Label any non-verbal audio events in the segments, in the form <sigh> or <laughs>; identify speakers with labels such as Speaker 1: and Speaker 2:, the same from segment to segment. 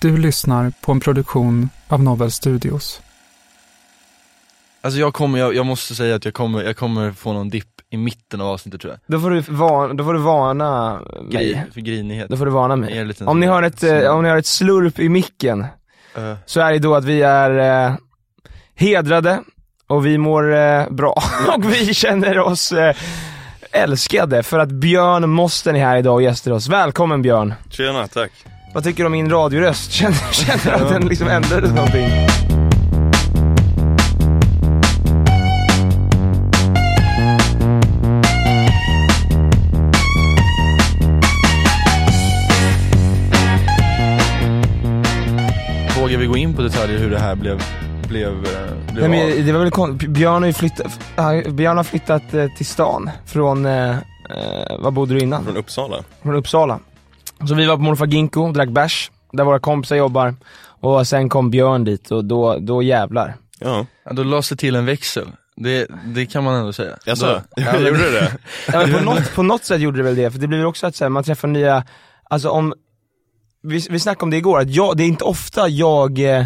Speaker 1: Du lyssnar på en produktion av Novel Studios.
Speaker 2: Alltså jag kommer, jag, jag måste säga att jag kommer, jag kommer få någon dipp i mitten av avsnittet tror jag.
Speaker 3: Då får du, van, då får du varna mig.
Speaker 2: Gri, för grinighet.
Speaker 3: Då får du varna
Speaker 2: Jag är
Speaker 3: mig.
Speaker 2: en liten-
Speaker 3: Om ni, hör ett, eh, om ni hör ett slurp i micken
Speaker 2: Eh,
Speaker 3: så är det då att vi är eh, hedrade och vi mår
Speaker 2: <laughs>
Speaker 3: eh, bra och vi känner oss eh, älskade för att Björn Mosten är här idag och gäster oss. Välkommen Björn!
Speaker 4: Tjena, tack.
Speaker 3: Vad tycker du om min radioröst? <laughs> Känner, känner du att den liksom ändrades någonting?
Speaker 2: vågar vi gå in på detaljer hur det här blev, blev, eh, blev
Speaker 3: Nej,
Speaker 2: av?
Speaker 3: men det var väl kon- Björn har ju flyttat, han- Björn har flyttat eh, till stan från, eh, eh, var bodde du innan?
Speaker 4: Från Uppsala.
Speaker 3: Från Uppsala. Så vi var på morfar Ginko, drack bärs, där våra kompisar jobbar. Och sen kom Björn dit och då, då jävlar.
Speaker 4: Ja.
Speaker 2: Ja, då lades det till en växel. Det, det kan man ändå säga.
Speaker 4: Jaså?
Speaker 2: Då- Ja,
Speaker 4: Gjorde
Speaker 2: men,
Speaker 4: du det? <laughs>
Speaker 3: Ja, men på, något, på något sätt gjorde det väl det, för det blir väl också att så här, man träffar nya, alltså om, vi, vi snackade om det igår, att jag, det är inte ofta jag eh,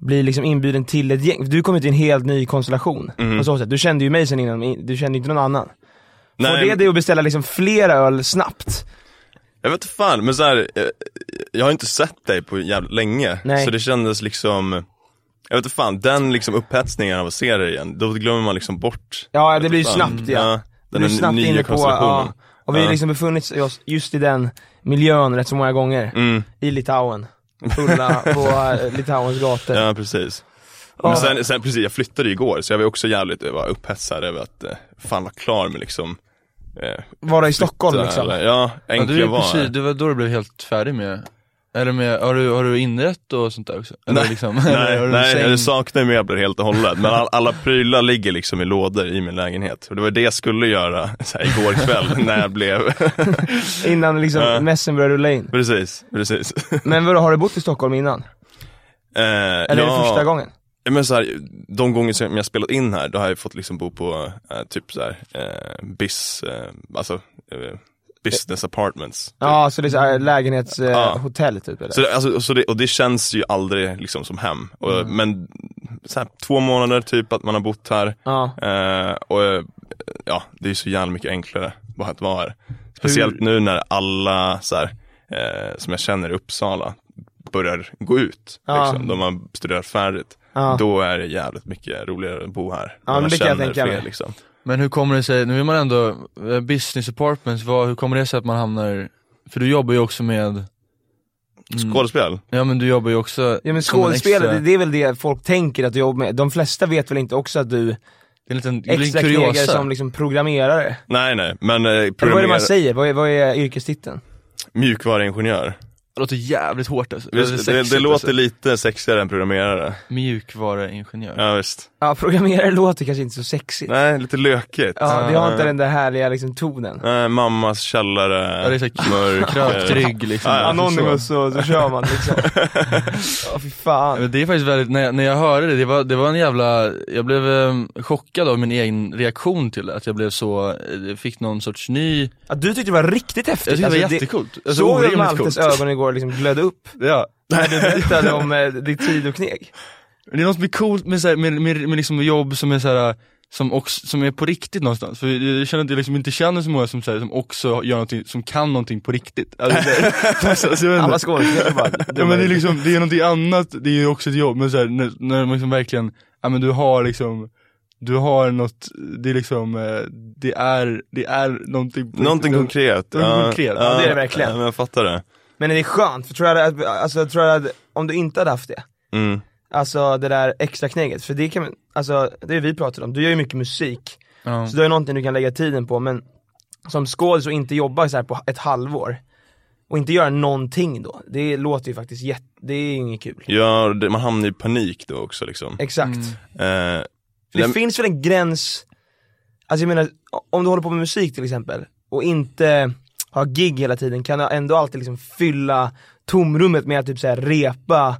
Speaker 3: blir liksom inbjuden till ett gäng, du kom ut i en helt ny konstellation. På så sätt. Du kände ju mig sen innan, du kände inte någon annan. Får det
Speaker 4: Nej,
Speaker 3: dig att beställa liksom flera öl snabbt?
Speaker 4: jag vet inte fan, men så här, eh, jag har inte sett dig på jävligt länge.
Speaker 3: Nej.
Speaker 4: Så det kändes liksom, jag vet inte fan, den liksom upphetsningen av att se dig igen, då glömmer man liksom bort.
Speaker 3: Ja, det
Speaker 4: jag vet
Speaker 3: blir
Speaker 4: inte
Speaker 3: ju
Speaker 4: fan.
Speaker 3: snabbt, ja.
Speaker 4: den
Speaker 3: Du är
Speaker 4: här
Speaker 3: snabbt
Speaker 4: nya
Speaker 3: inne på,
Speaker 4: konstellationen.
Speaker 3: ja, och vi har
Speaker 4: Ja.
Speaker 3: liksom befunnit oss just i den miljön rätt så många gånger.
Speaker 4: Mm,
Speaker 3: I Litauen. Fulla på
Speaker 4: <laughs>
Speaker 3: eh, Litauens gator.
Speaker 4: ja precis. Men sen, sen precis, jag flyttade ju igår, så jag var ju också jävligt eh, bara upphetsad över att eh, fan vara klar med liksom eh,
Speaker 3: Vara i Stockholm liksom.
Speaker 4: eller- Ja,
Speaker 2: ja, du,
Speaker 4: äntligen
Speaker 2: är
Speaker 4: vara
Speaker 2: precis,
Speaker 4: här.
Speaker 2: det var då du blev helt färdig med, eller med, har du, har du inrett och sånt där också? Eller liksom, eller
Speaker 4: <laughs> Nej,
Speaker 2: har du en
Speaker 4: nej
Speaker 2: säng?
Speaker 4: jag saknar ju möbler helt och hållet. Men all, alla prylar ligger liksom i lådor i min lägenhet. Och det var det jag skulle göra så här, igår kväll <laughs> när jag blev...
Speaker 3: Innan liksom
Speaker 4: Ja.
Speaker 3: mässen började rulla in.
Speaker 4: precis, precis.
Speaker 3: Men vadå, har du bott i Stockholm innan?
Speaker 4: Eh,
Speaker 3: Eller är det första gången?
Speaker 4: Men så här, de gånger som jag spelat in här, då har jag fått liksom bo på eh, typ så här, eh, bis, eh, alltså eh, business apartments.
Speaker 3: Ja, så det är så här
Speaker 4: Ja.
Speaker 3: lägenhetshotell typ eller?
Speaker 4: Så det, alltså, så det, och det känns ju aldrig liksom som hem. Och, Men så här, två månader typ att man har bott här.
Speaker 3: Ja.
Speaker 4: Eh, och eh, ja, det är så jävla mycket enklare bara att vara här. Speciellt nu när alla så här, eh, som jag känner i Uppsala börjar gå ut.
Speaker 3: Ja.
Speaker 4: Liksom. De har studerat färdigt.
Speaker 3: Ja.
Speaker 4: Då är det jävligt mycket roligare att bo här.
Speaker 3: Ja,
Speaker 4: När
Speaker 3: men
Speaker 4: man
Speaker 3: det kan jag
Speaker 4: känner
Speaker 3: tänka
Speaker 4: fler
Speaker 3: mig.
Speaker 4: liksom.
Speaker 2: Men hur kommer det sig, nu är man ändå, eh, business apartments, vad, hur kommer det sig att man hamnar, för du jobbar ju också med, Mm.
Speaker 4: Skådespel.
Speaker 2: ja men du jobbar ju också
Speaker 3: Ja men
Speaker 2: som en extra-
Speaker 3: skådespelare, det, det är väl det folk tänker att du jobbar med. De flesta vet väl inte också att du
Speaker 2: Det är en liten, det är en
Speaker 3: extra
Speaker 2: liten
Speaker 3: knegare
Speaker 2: kuriosa.
Speaker 3: som liksom programmerare.
Speaker 4: Nej nej, men eh,
Speaker 3: Eller vad är det man
Speaker 4: programmera,
Speaker 3: säger? Vad är, vad är yrkestiteln?
Speaker 4: mjukvaruingenjör.
Speaker 2: Det låter jävligt hårt alltså.
Speaker 4: Det, det, det,
Speaker 2: sexigt,
Speaker 4: det låter
Speaker 2: alltså.
Speaker 4: lite sexigare än programmerare.
Speaker 2: Mjukvaruingenjör.
Speaker 4: Ja visst.
Speaker 3: Ja, programmerare låter kanske inte så sexigt.
Speaker 4: Nej, lite lökigt.
Speaker 3: Ja, det har inte
Speaker 4: Eh,
Speaker 3: den där härliga liksom tonen.
Speaker 4: Nej, mammas källare, eh,
Speaker 2: Ja, det är så här
Speaker 4: mörker.
Speaker 2: Kröktrygg liksom.
Speaker 4: Ja, ja.
Speaker 2: Alltså,
Speaker 3: Anonymous
Speaker 2: så.
Speaker 3: så, så kör man
Speaker 2: <laughs>
Speaker 3: liksom. Ja, fy
Speaker 2: Ja,
Speaker 3: fan.
Speaker 2: men Det är faktiskt väldigt, när jag, när jag hörde det, det var, det var en jävla, jag blev eh, chockad av min egen reaktion till det, att jag blev så, eh, fick någon sorts ny, jag
Speaker 3: Ja, du tyckte det var riktigt häftigt.
Speaker 2: tyckte det var
Speaker 3: Alltså,
Speaker 2: jättecoolt.
Speaker 3: det,
Speaker 2: Alltså,
Speaker 3: såg du att
Speaker 2: orimligt
Speaker 3: Maltes
Speaker 2: coolt.
Speaker 3: ögon igår liksom glödde upp?
Speaker 2: Ja.
Speaker 3: När du berättade om eh, din tid och kneg?
Speaker 2: Men Det är något som är coolt med, så här, med, med, med liksom jobb som är så här. som, också, som är på riktigt någonstans. För jag känner att jag liksom inte känner så många som, så här, som också gör någonting, som kan någonting på riktigt. Alltså, så här, <laughs> så, så, jag vet
Speaker 3: Alla
Speaker 2: inte.
Speaker 3: skådespelare bara, de
Speaker 2: Ja men det är
Speaker 3: är-
Speaker 2: liksom, det är någonting annat, det är ju också ett jobb, men så här, när, när man liksom verkligen, ja men du har liksom du har något, det är liksom, eh, det är, det är någonting
Speaker 4: Någonting konkret.
Speaker 2: Någonting konkret. Ja,
Speaker 3: det är det verkligen.
Speaker 4: Men jag fattar det.
Speaker 3: Men det är skönt, för tror jag att, alltså, jag tror att om du inte hade haft det,
Speaker 4: Mm.
Speaker 3: alltså det där extra knäcket, för det kan man- alltså det är vi pratar om, du gör ju mycket musik,
Speaker 2: Ja.
Speaker 3: så du har ju någonting du kan lägga tiden på, men som skådis och inte jobba så här på ett halvår, och inte göra någonting då, det låter ju faktiskt jätte, det är ju inget kul.
Speaker 4: Ja, det, man hamnar i panik då också liksom.
Speaker 3: Exakt.
Speaker 4: Eh,
Speaker 3: För det
Speaker 4: Nej, men-
Speaker 3: finns väl en gräns, alltså jag menar, om du håller på med musik till exempel, och inte har gig hela tiden, kan du ändå alltid liksom fylla tomrummet med att typ så här repa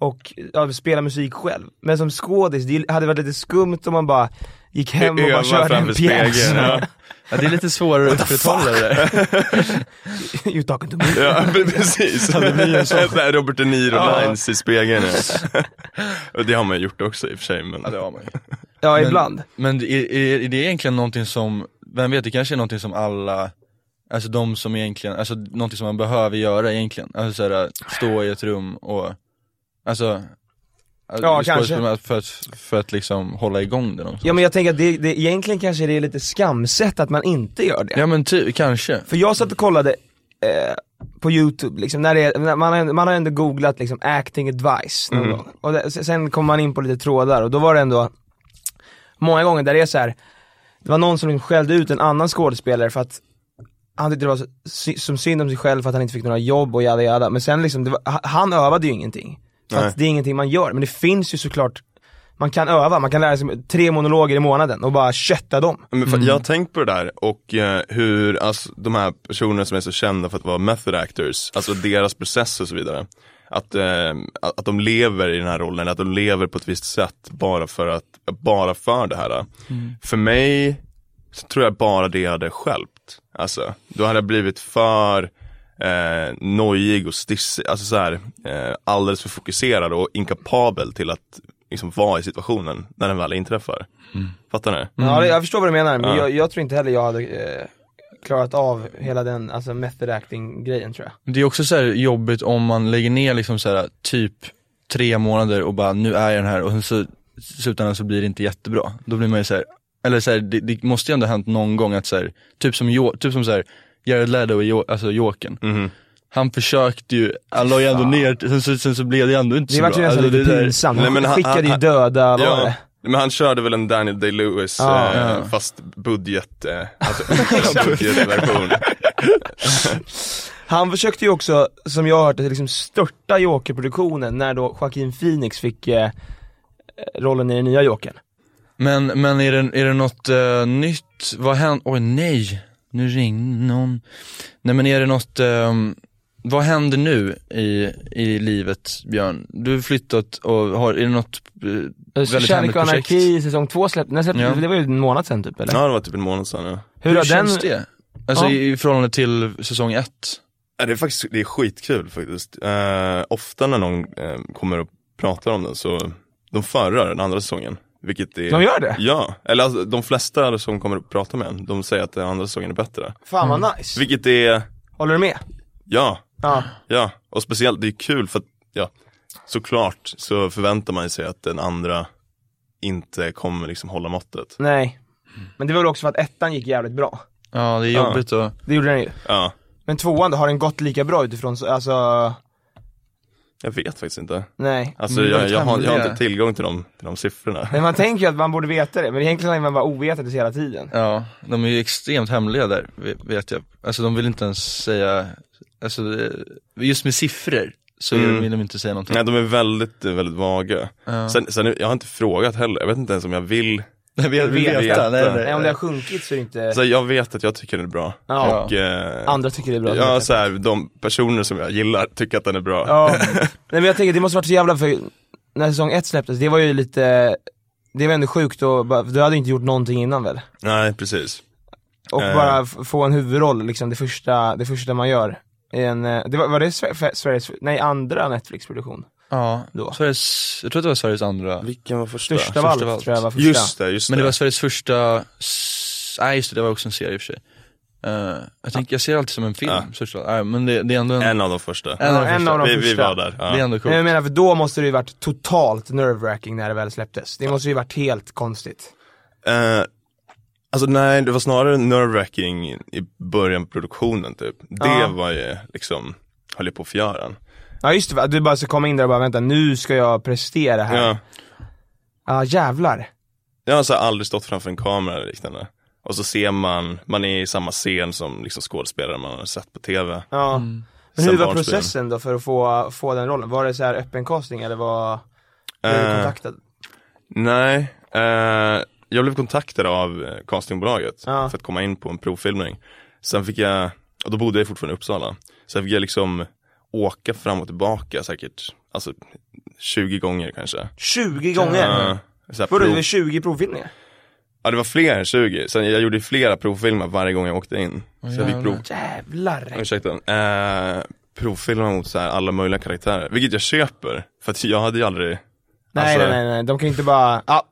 Speaker 3: och ja, spela musik själv. Men som skådis, det hade varit lite skumt om man bara gick hem och bara
Speaker 4: övar
Speaker 3: körde en
Speaker 4: framför
Speaker 3: pjäs.
Speaker 4: spegeln. Ja.
Speaker 2: Ja, det är lite svårare att upprätthålla det där.
Speaker 3: <laughs> you talking to me.
Speaker 4: Ja, <laughs> men precis. Det blir en <laughs> sån här Robert De Niro-lines i spegeln. <laughs> ja. Och det har man ju gjort också i och för sig. Men... Ja, det har man
Speaker 3: Ja,
Speaker 2: Men-
Speaker 3: ibland.
Speaker 2: Men det är, är, är det egentligen någonting som, vem vet, det kanske är någonting som alla, alltså de som egentligen, alltså någonting som man behöver göra egentligen, alltså så här, stå i ett rum och, alltså att-
Speaker 3: Ja, kanske.
Speaker 2: skådespelare För att, för att liksom hålla igång det någonstans.
Speaker 3: Ja men jag tänker att det, det, egentligen kanske det är lite skamset att man inte gör det.
Speaker 2: Ja men ty, kanske.
Speaker 3: För jag satt och kollade eh, på youtube, liksom, när det, är- när man, har- man har ändå googlat liksom, acting advice någon gång. Och det, se- sen kom man in på lite trådar och då var det ändå många gånger där det är så här. det var någon som liksom skällde ut en annan skådespelare för att han tyckte det var så, sy- som synd om sig själv för att han inte fick några jobb och jada jada. Men sen liksom, det var, ha- han övade ju ingenting. För
Speaker 4: Nej.
Speaker 3: att det är ingenting man gör, men det finns ju såklart man kan öva, man kan lära sig tre monologer i månaden och bara kötta dem.
Speaker 4: Men för, Jag har tänkt på det där och eh, hur alltså, de här personerna som är så kända för att vara method actors, alltså deras process och så vidare. Att, eh, att att de lever i den här rollen, att de lever på ett visst sätt bara för, att, bara för det här. För mig så tror jag bara det hade stjälpt. Alltså, då hade jag blivit för eh, nojig och stissig, alltså så här, eh, alldeles för fokuserad och inkapabel till att liksom, vara i situationen när den väl inträffar. Fattar ni?
Speaker 2: Mm.
Speaker 3: Ja, det, jag förstår vad du menar, men
Speaker 4: Ja.
Speaker 3: jag, jag tror inte heller jag hade eh, klarat av hela den alltså method acting grejen tror jag.
Speaker 2: Det är också så här jobbigt om man lägger ner liksom så här, typ tre månader och bara nu är jag den här och sen så i slutändan så blir det inte jättebra. Då blir man ju så här, eller så här, det, det måste ju ändå ha hänt någon gång att så här, typ som, Jo- typ som så här, Jared Leto i Jo- alltså Jokern.
Speaker 4: Mhm.
Speaker 2: Han försökte ju, han la ju ändå ner, sen så, sen så blev det ändå inte
Speaker 3: Det
Speaker 2: så
Speaker 3: vart ju
Speaker 2: bra.
Speaker 3: nästan
Speaker 2: Alltså,
Speaker 3: lite
Speaker 2: det där-
Speaker 3: pinsamt,
Speaker 4: Nej,
Speaker 3: han
Speaker 4: men han-
Speaker 3: skickade ju
Speaker 4: han-
Speaker 3: döda, vad var
Speaker 4: Ja,
Speaker 3: det?
Speaker 4: men han körde väl en Daniel Day-Lewis
Speaker 3: Ja.
Speaker 4: eh,
Speaker 2: Ja.
Speaker 4: fast budget, <laughs> eh, alltså budgetversion.
Speaker 3: Han försökte ju också, som jag har hört, att liksom störta Joker-produktionen när då Joaquin Phoenix fick eh, rollen i den nya Jokern.
Speaker 2: Men, men är det, är det något eh, nytt? Vad hände? Oj nej, nu ringde någon. Nej men är det något, ehm, vad händer nu i, i livet Björn? Du har flyttat och har, är det något eh, väldigt
Speaker 3: Kärlek
Speaker 2: hemligt
Speaker 3: och
Speaker 2: projekt?
Speaker 3: anarki säsong två släpptes, när släppte,
Speaker 2: Ja.
Speaker 3: det var ju en månad sen typ eller?
Speaker 4: Ja det var typ en månad sedan ja.
Speaker 3: Hur,
Speaker 2: Hur,
Speaker 3: har den,
Speaker 2: känns det? Alltså
Speaker 3: Ja.
Speaker 2: i, i förhållande till säsong ett?
Speaker 4: Ja, Det är faktiskt, det är skitkul faktiskt. Eh, ofta när någon eh, kommer och pratar om den så, de förra den andra säsongen. Vilket är,
Speaker 3: De gör det?
Speaker 4: Ja, eller alltså, de flesta som kommer och pratar med en, de säger att den andra säsongen är bättre.
Speaker 3: Fan vad
Speaker 2: Mm.
Speaker 3: nice.
Speaker 4: Vilket är,
Speaker 3: Håller du med?
Speaker 4: ja,
Speaker 3: Ja.
Speaker 4: ja. Och speciellt, det är kul för att, ja, såklart så förväntar man sig att den andra inte kommer liksom hålla måttet.
Speaker 3: Nej. Men det var väl också för att ettan gick jävligt bra.
Speaker 2: Ja det är
Speaker 4: Ja.
Speaker 2: jobbigt och
Speaker 3: Det gjorde den ju.
Speaker 4: Ja.
Speaker 3: Men tvåan då, har den gått lika bra utifrån, så- alltså,
Speaker 4: Jag vet faktiskt inte.
Speaker 3: nej.
Speaker 4: Alltså
Speaker 2: Men
Speaker 4: jag,
Speaker 2: väldigt
Speaker 4: jag, har, jag har
Speaker 2: hemliga.
Speaker 4: inte tillgång till de, till de siffrorna.
Speaker 3: Men man tänker ju att man borde veta det, men egentligen är man bara ovetande hela tiden.
Speaker 2: ja, de är ju extremt hemliga där ve- vet jag. Alltså de vill inte ens säga, alltså eh, just med siffror så
Speaker 4: Mm.
Speaker 2: vill de inte säga någonting.
Speaker 4: Nej de är väldigt, eh, väldigt vaga. Sen, sen, jag har inte frågat heller, jag vet inte ens om jag vill.
Speaker 2: Nej, <laughs> vi vill
Speaker 3: Veta.
Speaker 2: veta. Nej, nej,
Speaker 3: Nej, om det har sjunkit så är det inte,
Speaker 4: Så jag vet att jag tycker den är bra.
Speaker 3: ja.
Speaker 4: Och, eh,
Speaker 3: Andra tycker det är bra.
Speaker 4: ja, så här, de personer som jag gillar tycker att den är bra.
Speaker 3: ja. Nej men jag tänker, det måste varit så jävla, för när säsong ett släpptes, det var ju lite, det var ändå sjukt och bara- du hade ju inte gjort någonting innan väl?
Speaker 4: Nej precis.
Speaker 3: Och
Speaker 4: Eh.
Speaker 3: bara f- få en huvudroll liksom, det första, det första man gör. I en, eh, det var, var det Sve- Fe- Sveriges, nej andra Netflix-produktion?
Speaker 2: Ja,
Speaker 3: Då.
Speaker 2: Sveriges, jag tror att det var Sveriges andra.
Speaker 4: Vilken var första?
Speaker 3: Största av allt
Speaker 2: av allt.
Speaker 3: tror jag var första.
Speaker 4: Just det, just
Speaker 2: Men det
Speaker 4: det.
Speaker 2: var Sveriges första, s- nej just det, det var också en serie i och för sig. Eh, jag, tänker, jag ser det alltid som en film,
Speaker 4: Ja.
Speaker 2: först av allt. Nej, men det, det är ändå en,
Speaker 4: En av de första.
Speaker 2: en av de
Speaker 3: Ja, en
Speaker 2: första.
Speaker 3: av de
Speaker 4: vi, vi
Speaker 3: första.
Speaker 4: var där. Ja.
Speaker 2: Det är ändå coolt.
Speaker 3: Men jag menar för då måste det ju varit totalt nerve-wracking när det väl släpptes. Det måste ju varit helt konstigt.
Speaker 4: Eh, alltså nej, det var snarare nerve-wracking i början på produktionen typ. Det
Speaker 3: Ja.
Speaker 4: var ju liksom, höll ju på att förgöra
Speaker 3: Ja just det, va? du bara ska komma in där och bara vänta nu ska jag prestera här. Ja
Speaker 4: ja.
Speaker 3: jävlar.
Speaker 4: Jag har så här aldrig stått framför en kamera eller liknande. Och så ser man, man är i samma scen som liksom skådespelare man har sett på tv.
Speaker 3: Ja. Mm. Men
Speaker 4: Sen
Speaker 3: hur var
Speaker 4: barnsben.
Speaker 3: processen då för att få, få den rollen? Var det så här öppen casting eller var, blev du
Speaker 4: Eh,
Speaker 3: kontaktad?
Speaker 4: Nej, eh, jag blev kontaktad av eh, castingbolaget
Speaker 3: Ja.
Speaker 4: för att komma in på en provfilmning. Sen fick jag, och då bodde jag fortfarande i Uppsala, sen fick jag liksom åka fram och tillbaka säkert, alltså 20 gånger kanske.
Speaker 3: 20 gånger?
Speaker 4: Eh, så här
Speaker 3: Var
Speaker 4: prov-
Speaker 3: det 20 provfilmningar?
Speaker 4: Ja det var fler än 20, sen jag gjorde ju flera provfilmer varje gång jag åkte in. Så jag fick prov,
Speaker 3: Jävlar.
Speaker 4: ursäkta, eh, provfilma mot så här alla möjliga karaktärer, vilket jag köper. För att jag hade ju aldrig,
Speaker 3: Nej,
Speaker 4: Alltså-
Speaker 3: nej nej nej, de kan ju inte bara, ja,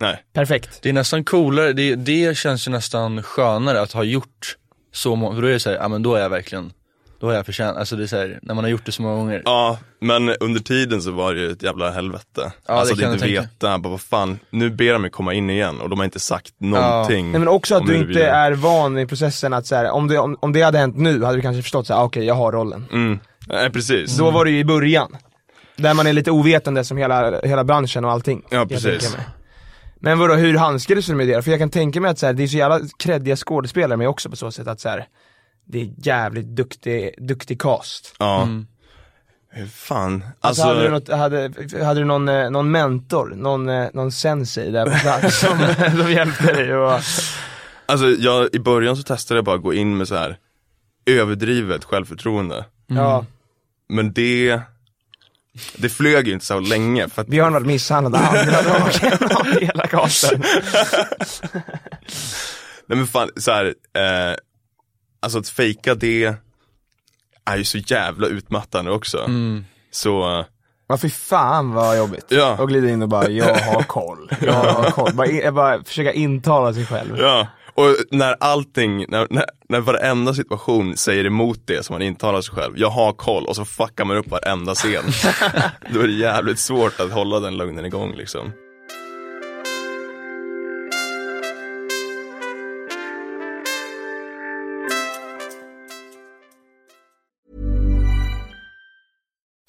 Speaker 4: nej.
Speaker 3: perfekt.
Speaker 2: Det är nästan coolare, det, det känns ju nästan skönare att ha gjort så många, för då är det såhär, ja men då är jag verkligen, då har jag förtjänat, alltså det är såhär, när man har gjort det så många gånger.
Speaker 4: Ja, men under tiden så var det ju ett jävla helvete. alltså att
Speaker 2: kan jag
Speaker 4: inte
Speaker 2: tänka.
Speaker 4: veta, bara, vad fan, nu ber de mig komma in igen och de har inte sagt någonting.
Speaker 3: Nej men också att
Speaker 4: om
Speaker 3: du
Speaker 4: huruvida-
Speaker 3: inte är van i processen att så här, om, det, om, om det hade hänt nu hade du kanske förstått såhär, ah, okej jag har rollen.
Speaker 4: Mm. Nej precis.
Speaker 3: Då var det ju i början. Där man är lite ovetande som hela, hela branschen och allting.
Speaker 4: Ja,
Speaker 3: kan jag
Speaker 4: precis.
Speaker 3: tänka mig. Men vadå, hur handskades du med det För jag kan tänka mig att så här, det är så jävla kreddiga skådespelare med också på så sätt att så här, det är jävligt duktig, duktig cast.
Speaker 4: Ja. Hur fan,
Speaker 3: Mm. Alltså,
Speaker 4: alltså,
Speaker 3: hade du, något, hade, hade du någon, eh, någon mentor, någon, eh, någon sensei där på plats som, <laughs> som hjälpte dig? Och,
Speaker 4: alltså jag, i början så testade jag bara att gå in med så här överdrivet självförtroende.
Speaker 3: ja,
Speaker 4: Men det, det flög ju inte så länge för att
Speaker 3: Björn varit misshandlad av andra dagen av <laughs> hela casten.
Speaker 4: Nej men fan, så här, eh, alltså att fejka det är ju så jävla utmattande också.
Speaker 2: Mm.
Speaker 4: Så, eh,
Speaker 3: Ja fy fan vad jobbigt.
Speaker 4: Ja.
Speaker 3: Och glida in och bara, jag har koll. Jag har koll. Bara, in, bara försöka intala sig själv.
Speaker 4: ja. Och när allting, när, när, när varenda situation säger emot det som man intalar sig själv, jag har koll och så fuckar man upp varenda scen.
Speaker 2: <laughs>
Speaker 4: Då är det jävligt svårt att hålla den lögnen igång liksom.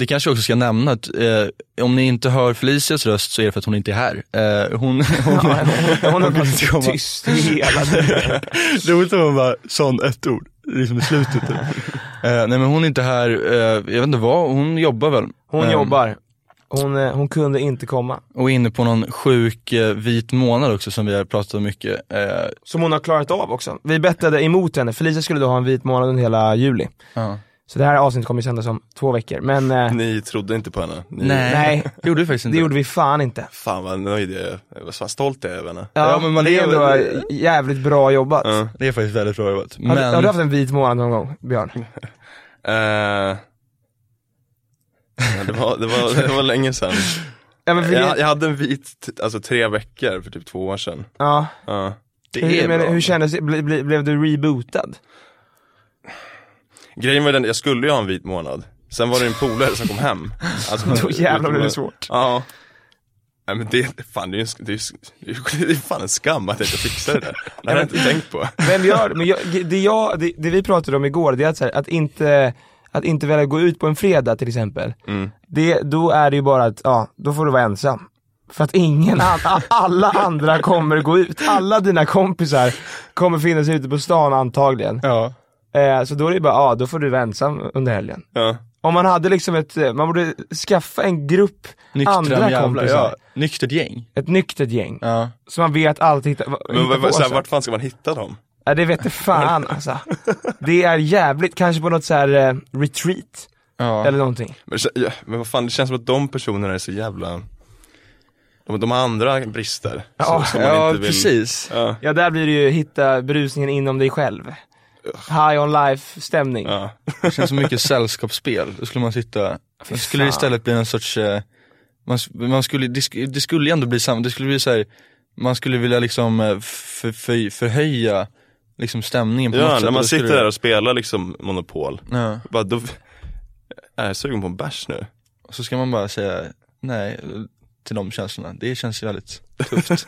Speaker 2: Det kanske jag också ska nämna att eh, om ni inte hör Felicias röst så är det för att hon inte är här. Eh, hon, hon,
Speaker 3: Ja, hon har
Speaker 2: vill
Speaker 3: varit
Speaker 2: inte
Speaker 3: så
Speaker 2: komma.
Speaker 3: tyst hela tiden.
Speaker 2: Roligt att hon bara, sån ett ord, liksom i slutet.
Speaker 3: <laughs>
Speaker 2: typ. eh, nej men hon är inte här, eh, jag vet inte vad, hon jobbar väl?
Speaker 3: Hon
Speaker 2: Eh,
Speaker 3: jobbar. Hon, eh, hon kunde inte komma.
Speaker 2: Och är inne på någon sjuk eh, vit månad också som vi har pratat om mycket. Eh,
Speaker 3: Som hon har klarat av också. Vi bettade emot henne, Felicia skulle då ha en vit månad under hela juli.
Speaker 2: ja.
Speaker 3: Så det här avsnittet kommer ju sändas om två veckor, men eh,
Speaker 4: Ni trodde inte på henne? Ni,
Speaker 3: Nej.
Speaker 2: det gjorde vi faktiskt inte.
Speaker 3: det gjorde vi fan inte.
Speaker 4: Fan vad nöjd jag är, Jag var så stolt jag är över henne.
Speaker 3: Ja,
Speaker 2: Ja, men man
Speaker 3: det är ändå
Speaker 2: lever-
Speaker 3: eh, jävligt bra jobbat.
Speaker 4: Ja.
Speaker 2: Det är faktiskt väldigt bra jobbat.
Speaker 3: Har, du,
Speaker 2: Men,
Speaker 3: har du haft en vit månad någon gång, Björn?
Speaker 4: Eh, <laughs> ja, det, var, det, var, det var länge sedan.
Speaker 3: Ja, men för,
Speaker 4: Jag,
Speaker 3: ja,
Speaker 4: jag hade en vit, t- alltså tre veckor för typ två år sedan. Ja.
Speaker 2: det
Speaker 3: Hur,
Speaker 2: är
Speaker 3: men,
Speaker 2: bra.
Speaker 3: hur kändes det? Ble, ble, blev du rebootad?
Speaker 4: Grejen var den, jag skulle ju ha en vit månad. Sen var det en polare som kom hem.
Speaker 3: <laughs>
Speaker 4: Alltså,
Speaker 3: Då jävlar blev det
Speaker 4: utom-
Speaker 3: svårt.
Speaker 4: Ja. Nej men det, fan det är ju en sk- det är, ju- <laughs> det är, det är fan en skam att jag inte fixade det där. Det hade jag inte tänkt på.
Speaker 3: Vem gör det? Men <laughs> jag, det, jag, det, det vi pratade om igår, det är att, så här, att inte att inte vilja gå ut på en fredag till exempel,
Speaker 4: Mm.
Speaker 3: det, då är det ju bara att, ja, då får du vara ensam. För att
Speaker 4: <laughs>
Speaker 3: ingen annan, alla andra kommer gå ut. Alla dina kompisar kommer finnas ute på stan antagligen. Eh, så då är det ju bara, ja, då får du vara ensam under helgen.
Speaker 4: Ja.
Speaker 3: Om man hade liksom ett, eh, man borde skaffa en grupp
Speaker 2: Nyktra
Speaker 3: andra
Speaker 2: jävlar,
Speaker 3: kompisar.
Speaker 2: ja. Nyktert gäng.
Speaker 3: Ett nyktert gäng.
Speaker 2: Ja.
Speaker 3: Så man vet alltid hitta, va-
Speaker 4: Men
Speaker 3: hitta
Speaker 4: vad- vad-
Speaker 3: på
Speaker 4: så här,
Speaker 3: sig.
Speaker 4: vart fan ska man hitta dem?
Speaker 3: Ja det vet
Speaker 4: <laughs>
Speaker 3: fan alltså. Det är jävligt, kanske på något så här eh, retreat. Eller någonting.
Speaker 4: Men, så- ja, men vad fan, det känns som att de personerna är så jävla de, de har andra brister.
Speaker 3: Ja.
Speaker 4: så, som man
Speaker 3: Ja,
Speaker 4: inte vill.
Speaker 3: precis.
Speaker 4: Ja.
Speaker 3: Ja där blir det ju hitta berusningen inom dig själv. High on life stämning.
Speaker 2: Det känns som mycket sällskapsspel. Då skulle man sitta, det skulle det istället bli en sorts, eh, man, man skulle, det, sk- det skulle ju ändå bli samma, det skulle bli så här, man skulle vilja liksom eh, för, för, förhöja liksom stämningen på något
Speaker 4: Ja,
Speaker 2: sätt.
Speaker 4: när
Speaker 2: Och
Speaker 4: man
Speaker 2: då skulle
Speaker 4: sitter
Speaker 2: det-
Speaker 4: där och spelar liksom Monopol.
Speaker 2: Ja.
Speaker 4: Bara, då, jag är sugen på en bärs nu.
Speaker 2: Och så ska man bara säga nej till de känslorna, det känns ju väldigt tufft.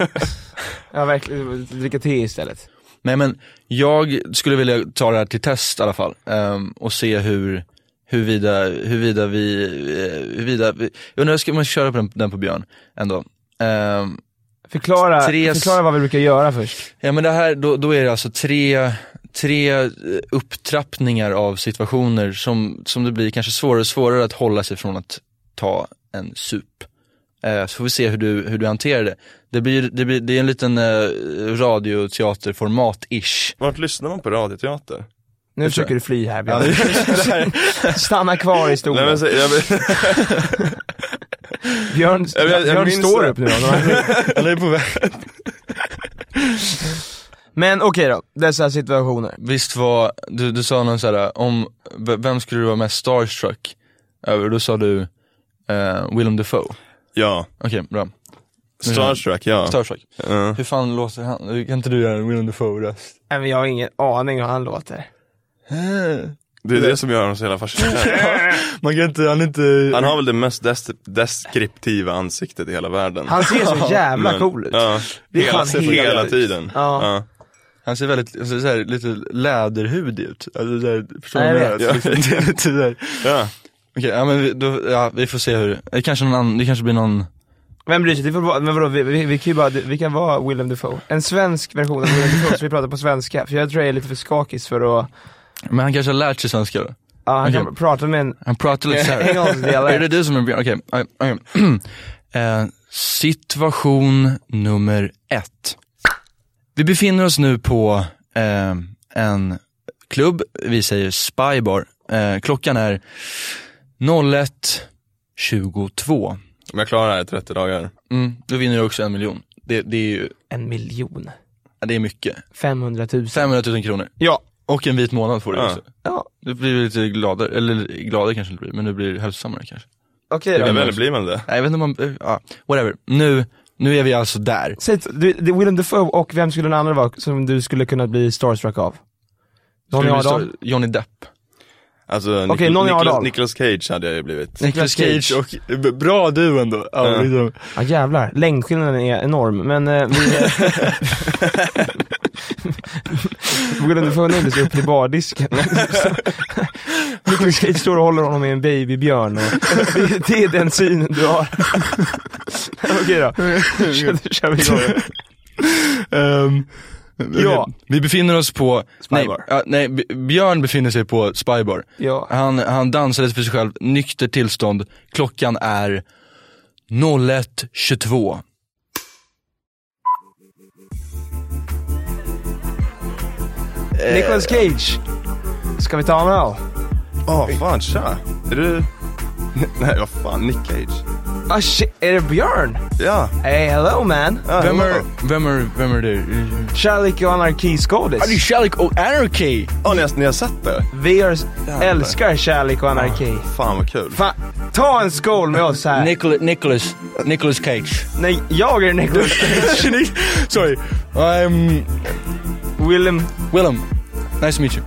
Speaker 3: Ja verkligen, dricka te istället.
Speaker 2: nej men jag skulle vilja ta det här till test i alla fall ehm, och se hur huruvida, huruvida vi, eh, huruvida vi, jag undrar, ska man köra på den, den på Björn ändå? Ehm,
Speaker 3: Förklara,
Speaker 2: Therese-
Speaker 3: förklara vad vi brukar göra först.
Speaker 2: Ja men det här, då, då är det alltså tre, tre eh, upptrappningar av situationer som, som det blir kanske svårare och svårare att hålla sig från att ta en sup. Eh, så får vi se hur du, hur du hanterar det. Det, blir, det, blir, det är en liten eh, radioteaterformat-ish.
Speaker 4: Vart lyssnar man på radioteater?
Speaker 3: Nu
Speaker 2: Det tror
Speaker 3: försöker du fly här
Speaker 2: Ja,
Speaker 3: Björn. <laughs> Stanna kvar i
Speaker 4: Nej,
Speaker 3: stolen.
Speaker 4: men, så, jag,
Speaker 3: Björn,
Speaker 4: Jag- jag- jag
Speaker 3: Björn
Speaker 4: minns
Speaker 3: står
Speaker 4: det.
Speaker 3: upp nu då.
Speaker 2: <laughs> Eller är på väg.
Speaker 3: Men okej då, dessa situationer.
Speaker 2: Visst var, du, du sa någon såhär, om, v- vem skulle du vara mest starstruck över? Då sa du eh, Willem Dafoe. Okej,
Speaker 4: <laughs> ja,
Speaker 2: bra.
Speaker 4: Starstruck ja.
Speaker 2: Starstruck.
Speaker 4: Ja.
Speaker 2: Hur fan låter han? Kan inte du göra en Willem <laughs> Dafoe-röst?
Speaker 3: Nej men jag har ingen aning hur han låter.
Speaker 4: Det är det som gör honom så
Speaker 3: <laughs>
Speaker 4: jävla fascinerande.
Speaker 2: Man kan inte, han är inte...
Speaker 4: Han har väl det mest des- deskriptiva ansiktet i hela världen.
Speaker 3: Han ser
Speaker 4: <laughs>
Speaker 3: så jävla
Speaker 4: Men-
Speaker 3: cool ut.
Speaker 4: Ja,
Speaker 3: Det är
Speaker 4: hela,
Speaker 3: fan helt
Speaker 4: hela
Speaker 3: sjukt.
Speaker 4: tiden.
Speaker 3: Ja.
Speaker 2: Han ser väldigt, alltså, så här, lite läderhudig ut. Alltså, så här, förstår du
Speaker 3: Nej,
Speaker 2: vad
Speaker 3: jag
Speaker 2: jag menar? Alltså, liksom, det är lite så här-
Speaker 4: Ja.
Speaker 2: Okej, ja men vi, då, ja, vi får se hur, det kanske, någon annan, det kanske blir någon,
Speaker 3: Vem bryr sig? Det får vara, men vadå, vi, vi, vi kan ju bara, vi kan vara Willem Dafoe. En svensk version av Willem Dafoe, så vi pratar på svenska. För jag tror jag är lite för skakis för att,
Speaker 2: men han kanske har lärt sig svenska då?
Speaker 3: ja han kan
Speaker 2: Okej.
Speaker 3: prata med en
Speaker 2: Han pratar lite
Speaker 3: <laughs>
Speaker 2: såhär.
Speaker 3: engelsk
Speaker 2: Är det
Speaker 3: dialekt.
Speaker 2: du som är Björn? Okej, okej, okej. <clears throat> eh, Situation nummer ett. Vi befinner oss nu på eh, en klubb, vi säger Spybar. Eh, klockan är 01.22.
Speaker 4: Om jag klarar det här i 30 dagar.
Speaker 2: Mm, då vinner du också en miljon. Det, det är ju,
Speaker 3: En miljon.
Speaker 2: ja, det är mycket.
Speaker 3: 500 000.
Speaker 2: 500 000 kronor.
Speaker 3: Ja.
Speaker 2: Och en vit månad får du
Speaker 4: Ja.
Speaker 2: också.
Speaker 3: Ja.
Speaker 2: Du blir lite gladare, eller gladare kanske du blir, men du blir hälsosammare kanske.
Speaker 3: Okej
Speaker 4: Ja,
Speaker 3: då.
Speaker 4: väl blir man det?
Speaker 2: Nej, jag vet inte om man, eh, ja, whatever. Nu, nu är vi alltså där.
Speaker 3: Säg, t- du, det är Willem Dafoe och vem skulle den andra vara som du skulle kunna bli starstruck av? Någon i
Speaker 2: Skulle bli
Speaker 3: Adam?
Speaker 2: stor- Johnny Depp.
Speaker 4: Alltså,
Speaker 3: Okej,
Speaker 4: Nic-
Speaker 3: någon i
Speaker 4: Nicolas-
Speaker 3: Arendal.
Speaker 4: Nicolas Cage hade jag ju blivit.
Speaker 2: Nicolas
Speaker 3: Cage
Speaker 2: Cage och, b- bra du ändå. Ja,
Speaker 4: Ja.
Speaker 2: liksom.
Speaker 3: Ja jävlar, längdskillnaden är enorm men eh, vi... <laughs> eh, Willem Dafoe nöjde sig upp till <laughs> bardisken. Nicolas Cage står och håller honom i en babybjörn och <laughs> det, det är den synen du har. <laughs> Okej då, kör, då <laughs> kör vi igång.
Speaker 2: Ehm,
Speaker 3: Ja.
Speaker 2: Vi befinner oss på, nej,
Speaker 3: Spybar.
Speaker 2: ja, nej, B- Björn befinner sig på Spybar.
Speaker 3: Ja.
Speaker 2: Han, han dansade för sig själv, nykter tillstånd. Klockan är 01.22.
Speaker 3: Eh. Nicolas Cage, ska vi ta en öl?
Speaker 4: Åh fan tja! Är du... <laughs> Nej vad fan, Nick Cage.
Speaker 3: Ah shit, är det Björn? Ah.
Speaker 4: Ja.
Speaker 3: Hey hello man!
Speaker 4: ja
Speaker 2: Vem
Speaker 4: hello.
Speaker 2: är, vem är, vem är du?
Speaker 3: Kärlek och anarkiskådis.
Speaker 2: Är du kärlek och anarki?
Speaker 4: Ja, ni, har, ni har sett det? Ah,
Speaker 3: Vi är, älskar kärlek och anarki.
Speaker 4: Fan vad kul.
Speaker 3: Fan, ta en skål med oss här.
Speaker 2: Nicolas, Nicolas, Nicolas Cage.
Speaker 3: Nej, jag är Nicolas Cage. <laughs>
Speaker 2: Sorry, I'm
Speaker 3: Willem.
Speaker 2: Willem. Um, Nice to meet you.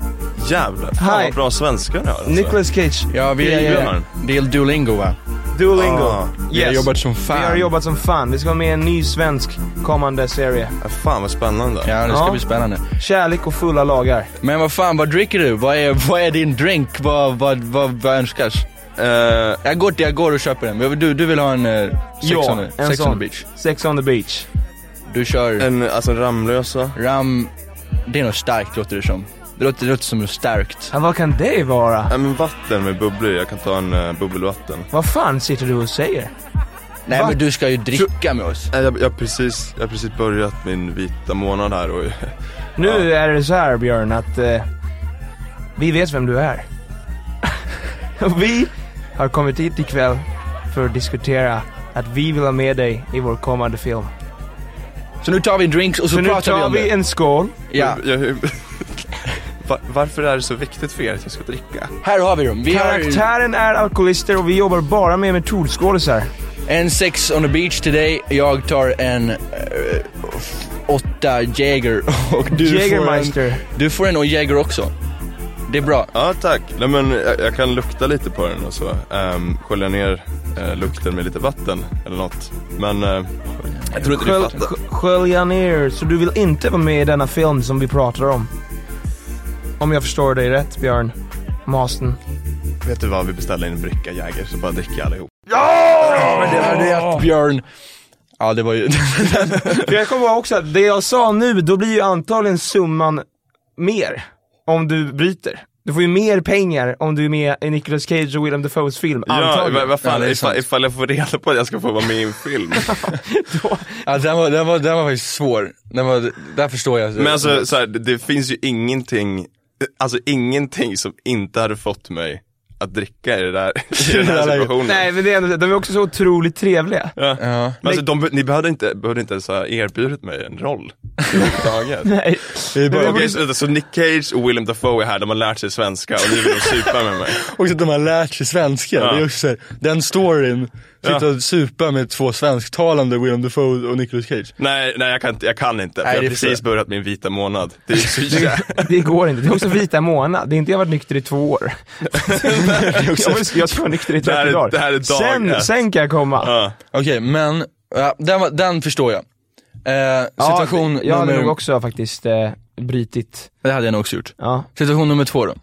Speaker 4: jävlar, fan
Speaker 3: Hi.
Speaker 4: vad bra svenska du har alltså.
Speaker 3: Nicolas Cage.
Speaker 2: Ja, vi
Speaker 3: Ja, ja, ja.
Speaker 2: Det är Duolingo va?
Speaker 3: Duolingo.
Speaker 2: Ah, vi har jobbat som fan.
Speaker 3: Vi har jobbat som fan. Vi ska vara med i en ny svensk kommande serie.
Speaker 4: Fan vad spännande.
Speaker 2: Ja, det ska
Speaker 3: Ja.
Speaker 2: bli spännande.
Speaker 3: Kärlek och fulla lagar.
Speaker 2: Men vad fan, vad dricker du? Vad är, vad är din drink? Vad, vad, vad, vad önskas? jag, går, till- jag går och köper den. Men Du, du vill ha en uh, sex,
Speaker 3: Eh, Ja,
Speaker 2: on, the-
Speaker 3: en
Speaker 2: sex on
Speaker 3: sån.
Speaker 2: the beach?
Speaker 3: Sex on the beach.
Speaker 2: Du kör...
Speaker 4: En, alltså en Ramlösa?
Speaker 2: Ram... Det är något starkt låter det som. Det låter, det låter som något starkt.
Speaker 3: Ja, vad kan det vara?
Speaker 4: Ja, men vatten med bubblor Jag kan ta en eh, bubbelvatten.
Speaker 3: Vad fan sitter du och säger?
Speaker 2: Nej
Speaker 3: Va?
Speaker 2: men du ska ju dricka med oss.
Speaker 4: Nej, Jag, jag, har precis, jag har precis börjat min vita månad här och
Speaker 3: Nu är det så här Björn att eh, vi vet vem
Speaker 2: <laughs>
Speaker 3: du är. Och vi har kommit hit ikväll för att diskutera att vi vill ha med dig i vår kommande film.
Speaker 2: Så nu tar vi drinks och så,
Speaker 3: Så nu
Speaker 2: pratar vi
Speaker 3: tar
Speaker 2: om
Speaker 3: vi
Speaker 2: det.
Speaker 3: en skål.
Speaker 2: Ja,
Speaker 4: <laughs> jag, jag, Va- varför är det så viktigt för er att jag ska dricka?
Speaker 2: här har vi dem. Vi har
Speaker 3: Karaktären är alkoholister och vi jobbar bara med metodskådisar.
Speaker 2: en sex on the beach today. Jag tar en eh, åtta Jäger <laughs> och du får en,
Speaker 3: Jägermeister.
Speaker 2: Du får en och Jäger också. Det är bra.
Speaker 4: Ja tack, nej men jag, jag kan lukta lite på den och så. Um, skölja ner eh, lukten med lite vatten eller något. Men eh, jag tror inte du
Speaker 3: Skölj-
Speaker 4: fattar.
Speaker 3: sk- Skölja ner, så du vill inte vara med i denna film som vi pratar om. Om jag förstår dig rätt Björn. Masten.
Speaker 4: Vet du vad, vi beställer en bricka Jäger så bara dricker allihop.
Speaker 2: Men det hade jag haft, Björn. Ja det var ju... <laughs>
Speaker 3: För <laughs> jag kommer ihåg också att det jag sa nu, då blir ju antagligen summan mer. Om du bryter. Du får ju mer pengar om du är med i Nicolas Cage och Willem Dafoes film,
Speaker 4: Ja, vad
Speaker 3: antagligen.
Speaker 4: va fan,
Speaker 2: Ja, det är sant.
Speaker 4: ifall, ifall jag får reda på att jag ska få vara med i en <laughs> film.
Speaker 2: ja, Alltså, den, var, den, var, den var faktiskt svår. Den var, där förstår jag.
Speaker 4: Men alltså så här, det, det finns ju ingenting, alltså ingenting som inte hade fått mig att dricka i, det där, <laughs> i den här
Speaker 3: <laughs>
Speaker 4: situationen.
Speaker 3: Nej men det är ändå, de är också så otroligt trevliga.
Speaker 4: Ja. Men alltså, de, be- ni behövde inte, behövde inte ens ha erbjudit mig
Speaker 3: <laughs>
Speaker 4: en roll. överhuvudtaget.
Speaker 3: <laughs> Nej.
Speaker 4: Okej, så, så Nick Cage och Willem Dafoe är här, de har lärt sig svenska och nu vill de supa med mig.
Speaker 2: Också att de har lärt sig svenska.
Speaker 4: Ja.
Speaker 2: Det är också så här, den storyn, sitta
Speaker 4: Ja.
Speaker 2: och supa med två svensktalande William Dafoe och Nicolas Cage.
Speaker 4: <laughs> Nej, nej jag kan, inte- jag kan inte.
Speaker 2: Nej,
Speaker 4: jag
Speaker 2: det
Speaker 4: har
Speaker 2: är
Speaker 4: precis
Speaker 2: för-
Speaker 4: börjat min vita månad. Det
Speaker 2: <laughs>
Speaker 4: är så jävla...
Speaker 3: Det går inte. Det är också vita månad. Det är inte jag har varit nykter i två
Speaker 4: <laughs>
Speaker 3: år. jag, var, jag ska vara nykter i
Speaker 4: Det här
Speaker 3: 30
Speaker 4: är-
Speaker 3: dagar.
Speaker 4: det här är dag
Speaker 3: sen,
Speaker 4: ett.
Speaker 3: sen kan jag komma.
Speaker 4: ja.
Speaker 2: Okej, men ja, den, var- den förstår jag. Eh, situation
Speaker 3: ja, Jag hade
Speaker 2: nummer...
Speaker 3: nog också faktiskt eh, brytit.
Speaker 2: Det hade jag nog också gjort.
Speaker 3: Ja.
Speaker 2: Situation nummer två då.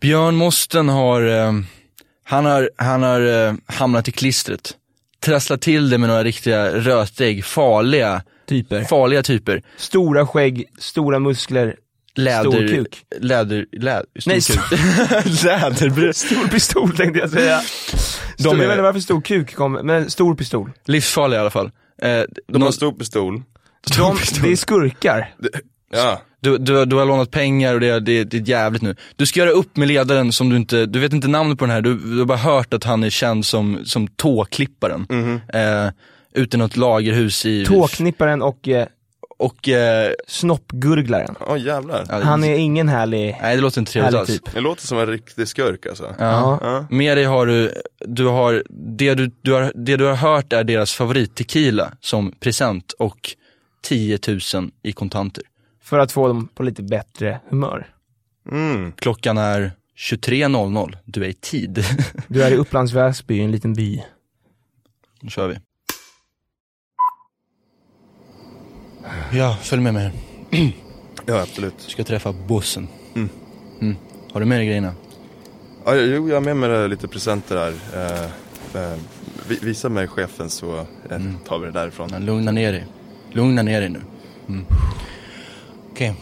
Speaker 2: Björn Mosten har, eh, han har, han har eh, hamnat i klistret. Trasslat till det med några riktiga rötägg, farliga,
Speaker 3: Typer.
Speaker 2: farliga typer.
Speaker 3: Stora skägg, stora muskler,
Speaker 2: Läder,
Speaker 3: stor kuk.
Speaker 2: läder, läder, stor
Speaker 3: Nej,
Speaker 2: kuk. <laughs> Läderbröst.
Speaker 3: Stor pistol tänkte jag säga.
Speaker 2: De är-
Speaker 3: stor, Jag vet inte varfarför stor kuk kom, men stor pistol.
Speaker 2: Livsfarliga i alla fall. Eh,
Speaker 4: De har
Speaker 2: någon-
Speaker 4: en stor pistol.
Speaker 3: <laughs> De, det är skurkar.
Speaker 4: Ja.
Speaker 2: Du, du, du har lånat pengar och det, det, det är jävligt nu. Du ska göra upp med ledaren som du inte, du vet inte namnet på den här, du, du har bara hört att han är känd som, som tåklipparen. Eh, ute i något lagerhus i...
Speaker 3: Tåknipparen och eh,
Speaker 2: Och, eh,
Speaker 3: snoppgurglaren.
Speaker 4: Åh jävlar.
Speaker 2: ja,
Speaker 3: Han är ingen härlig,
Speaker 2: Nej det låter inte trevligt
Speaker 3: härlig
Speaker 2: alls.
Speaker 3: typ.
Speaker 4: Det låter som en riktig skurk alltså.
Speaker 2: Ja.
Speaker 4: Ja.
Speaker 2: Med dig har du, du har, det du, du har, det du har hört är deras favorittequila som present och 10 000 i kontanter.
Speaker 3: För att få dem på lite bättre humör.
Speaker 4: Mm.
Speaker 2: Klockan är 23.00, du är i tid. <laughs>
Speaker 3: Du är i Upplands Väsby, en liten by.
Speaker 2: Nu kör vi. Ja, följ med mig här.
Speaker 4: Ja, absolut.
Speaker 2: Du ska träffa bossen. Mm. Har du med dig grejerna?
Speaker 4: Ja, jo, jag har med mig lite presenter här. Eh, eh, vi- visa mig chefen så eh,
Speaker 2: Mm.
Speaker 4: tar vi det därifrån.
Speaker 2: Ja, Lugna ner dig. Lugna ner dig nu. Mm. Okej.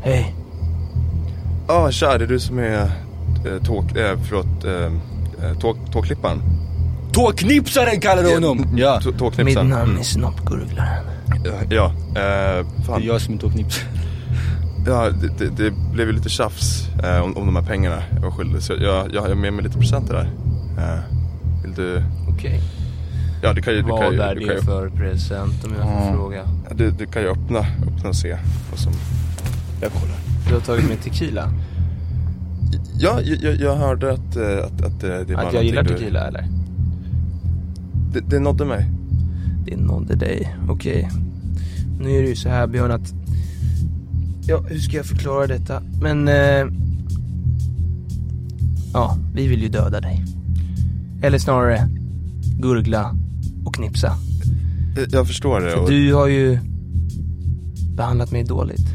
Speaker 3: Hej.
Speaker 4: Ja, tja, det är du som är eh, tåk, eh, förlåt, eh, eh, tåk, tåklipparen.
Speaker 2: Tåknipsaren kallar du honom! Ja.
Speaker 4: Tå-
Speaker 3: Mitt
Speaker 4: Tåknipsaren.
Speaker 3: namn är Snoppgurglaren.
Speaker 4: Ja, eh,
Speaker 2: Det är
Speaker 4: fan.
Speaker 2: jag som är tåknipsaren.
Speaker 4: Ja, det, det, det blev ju lite tjafs eh, om, om de här pengarna jag var skyldig. Så jag, jag har med mig lite presenter där. Eh, vill du?
Speaker 3: Okej.
Speaker 4: Ja, du kan ju, du kan ju, du kan ju, Mm.
Speaker 3: för present om jag får fråga?
Speaker 4: ja, du, du kan ju öppna, öppna och se vad som... Jag kollar.
Speaker 3: Du har tagit med tequila?
Speaker 4: Ja, jag, jag, jag hörde att, eh, att, att eh, det var någonting du-
Speaker 3: eller?
Speaker 4: Det, det nådde mig.
Speaker 3: Det nådde dig. Okej. Nu är det ju så här Björn att Ja, hur ska jag förklara detta? Men... Eh, ja, vi vill ju döda dig. Eller snarare, gurgla och knipsa.
Speaker 4: Jag- Jag förstår det.
Speaker 3: För
Speaker 4: och-
Speaker 3: du har ju behandlat mig dåligt.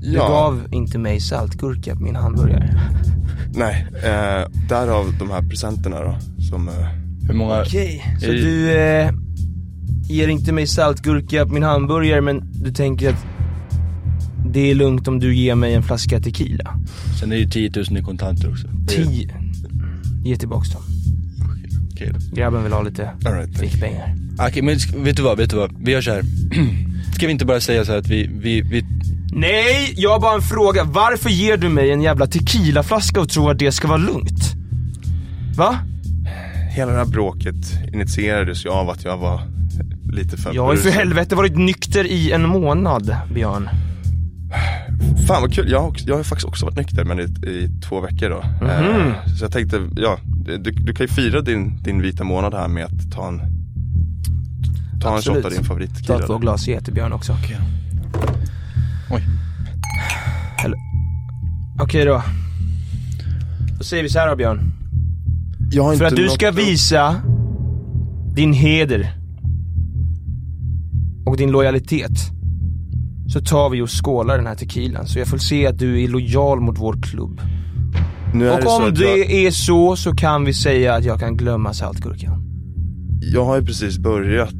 Speaker 3: Du
Speaker 4: Ja.
Speaker 3: gav inte mig saltgurka på min hamburgare.
Speaker 4: Nej, eh, därav de här presenterna då. Som, eh,
Speaker 2: Hur många?
Speaker 3: Okej, så du eh, ger inte mig saltgurka på min hamburgare men du tänker att det är lugnt om du ger mig en flaska tequila.
Speaker 2: Sen är det ju 10 000 i kontanter också. Det är-
Speaker 3: Tio. Ge tillbaks dem.
Speaker 2: Okej då.
Speaker 3: Grabben vill ha lite
Speaker 2: All right, thank
Speaker 3: fickpengar.
Speaker 2: Okej men sk- vet du vad, vet du vad? Vi gör så här. <clears throat> Ska vi inte bara säga så här att vi, vi, vi
Speaker 3: Nej, jag har bara en fråga. Varför ger du mig en jävla tequilaflaska och tror att det ska vara lugnt? Va?
Speaker 4: hela det här bråket initierades ju av att jag var lite för
Speaker 3: Jag har ju för
Speaker 4: berusad.
Speaker 3: helvete varit nykter i en månad, Björn.
Speaker 4: Fan vad kul, jag har, också- jag har faktiskt också varit nykter men i, i två veckor då.
Speaker 3: Mhm.
Speaker 4: Eh, så jag tänkte, ja, du, du kan ju fira din, din vita månad här med att ta en Ta en shot av din
Speaker 3: Ta
Speaker 4: favorittequila.
Speaker 3: två glas getebjörn också. Okej
Speaker 2: Oj.
Speaker 3: Okej då. Då säger vi så här då Björn.
Speaker 4: Jag har
Speaker 3: För att du
Speaker 4: något
Speaker 3: ska
Speaker 4: att-
Speaker 3: visa din heder och din lojalitet så tar vi och skålar den här tequilan så jag får se att du är lojal mot vår klubb.
Speaker 4: Nu är det
Speaker 3: och
Speaker 4: så
Speaker 3: om
Speaker 4: att
Speaker 3: det
Speaker 4: jag,
Speaker 3: är så så kan vi säga att jag kan glömma saltgurkan.
Speaker 4: jag har ju precis börjat,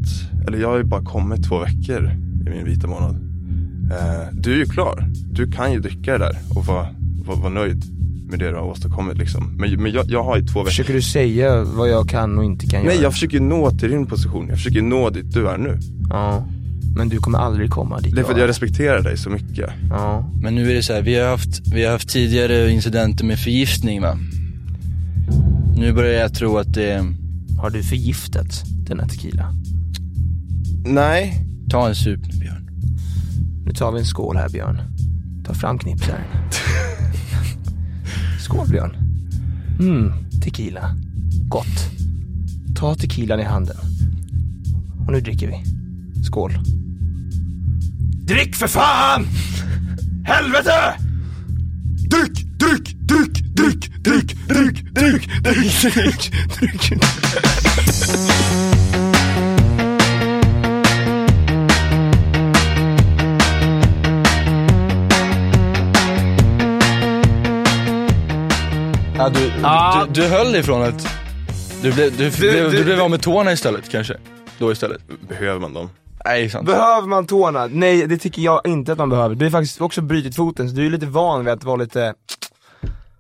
Speaker 4: eller jag har ju bara kommit två veckor i min vita månad. Eh, du är ju klar, du kan ju dricka det där och vara vara vara nöjd med det du har åstadkommit liksom. Men, men jag, jag har ju två veckor.
Speaker 3: Försöker du säga vad jag kan och inte kan
Speaker 4: Nej
Speaker 3: göra?
Speaker 4: jag försöker ju nå till din position, jag försöker ju nå dit du är nu.
Speaker 3: Ja. Men du kommer aldrig komma dit
Speaker 4: Det är för att jag respekterar dig så mycket.
Speaker 3: Ja.
Speaker 2: Men nu är det så här, vi har haft, vi har haft tidigare incidenter med förgiftning va? Nu börjar jag tro att det,
Speaker 3: Har du förgiftat den här tequila?
Speaker 4: Nej,
Speaker 2: ta en sup nu Björn.
Speaker 3: Nu tar vi en skål här Björn. Ta fram knipsaren. skål Björn. Mm, tequila. Gott. Ta tequilan i handen. Och nu dricker vi. Skål. Drick för fan! Helvete! Dryck, dryck, dryck, dryck, dryck, dryck, dryck, dryck, dryck, dryck.
Speaker 2: Ja, du,
Speaker 3: Ah.
Speaker 2: du, du höll ifrån att, du blev, du, blev, du,
Speaker 3: du-
Speaker 2: blev av med tårna istället kanske? Då istället?
Speaker 4: behöver man dem?
Speaker 2: Nej sant.
Speaker 3: Behöver man tårna? Nej, det tycker jag inte att man behöver. Du har faktiskt också brutit foten, så du är lite van vid att vara lite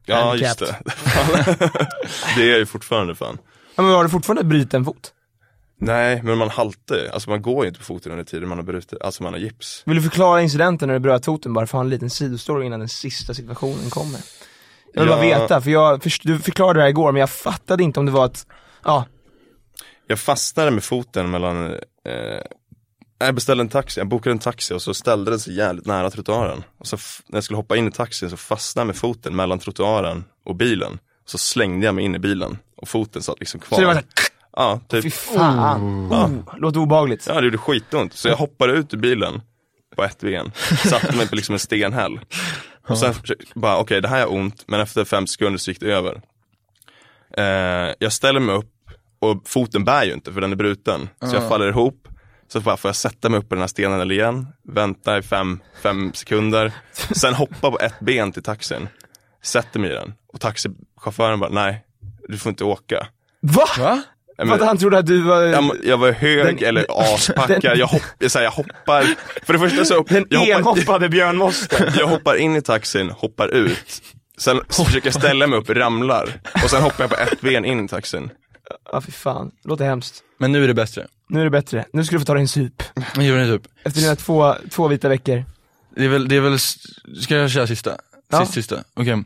Speaker 4: Ja just
Speaker 3: Handicapped.
Speaker 4: det. <laughs> det är jag ju fortfarande fan.
Speaker 3: Ja, men har du fortfarande bruten fot?
Speaker 4: Nej men man haltar ju, alltså man går ju inte på foten under tiden man har brutit, alltså man har gips.
Speaker 3: Vill du förklara incidenten när du bröt foten bara för att ha en liten sidostory innan den sista situationen kommer? Jag vill bara
Speaker 4: Ja.
Speaker 3: veta, för jag, först- du förklarade det här igår men jag fattade inte om det var att, ja,
Speaker 4: Jag fastnade med foten mellan, eh, jag beställde en taxi, jag bokade en taxi och så ställde den sig jävligt nära trottoaren. Och så f- när jag skulle hoppa in i taxin så fastnade jag med foten mellan trottoaren och bilen. Så slängde jag mig in i bilen och foten satt liksom kvar.
Speaker 3: så det var såhär,
Speaker 4: Ja,
Speaker 3: fy
Speaker 4: typ.
Speaker 3: fan, oh, låter obehagligt.
Speaker 4: Ja det gjorde skitont. Så jag hoppade ut ur bilen på ett ben, satte mig på liksom en stenhäll. Och sen försökte- bara, okej det här är ont, men efter fem sekunder så gick det över. Eh, jag ställer mig upp och foten bär ju inte för den är bruten. Så jag faller ihop. Så bara, får jag sätta mig upp på den här stenen igen, vänta i fem, fem sekunder. Sen hoppa på ett ben till taxin. Sätter mig i den. Och taxichauffören bara, nej du får inte åka.
Speaker 3: Va?
Speaker 2: Va?
Speaker 4: Jag
Speaker 3: För att
Speaker 4: men-
Speaker 3: han trodde att du var,
Speaker 4: jag, jag var
Speaker 3: <laughs>
Speaker 4: hög
Speaker 3: Den-
Speaker 4: eller aspackad,
Speaker 3: den-
Speaker 4: jag, hopp, jag, så här, jag hoppar, för det första så
Speaker 3: <laughs>
Speaker 4: upp,
Speaker 3: den
Speaker 4: jag, hoppar,
Speaker 3: enhoppade Björn Moster.
Speaker 4: jag hoppar in i taxin, hoppar ut, sen försöker jag ställa mig upp, ramlar och sen hoppar jag på ett ben in i taxin.
Speaker 3: ja fy fan, låter hemskt.
Speaker 2: Men nu är det bättre.
Speaker 3: Nu är det bättre, nu ska du få ta dig en sup.
Speaker 2: Men gör ni typ.
Speaker 3: Efter dina två, två vita veckor.
Speaker 2: Det är väl, det är väl, ska jag köra sista?
Speaker 3: Ja.
Speaker 2: Sist, sista, okej.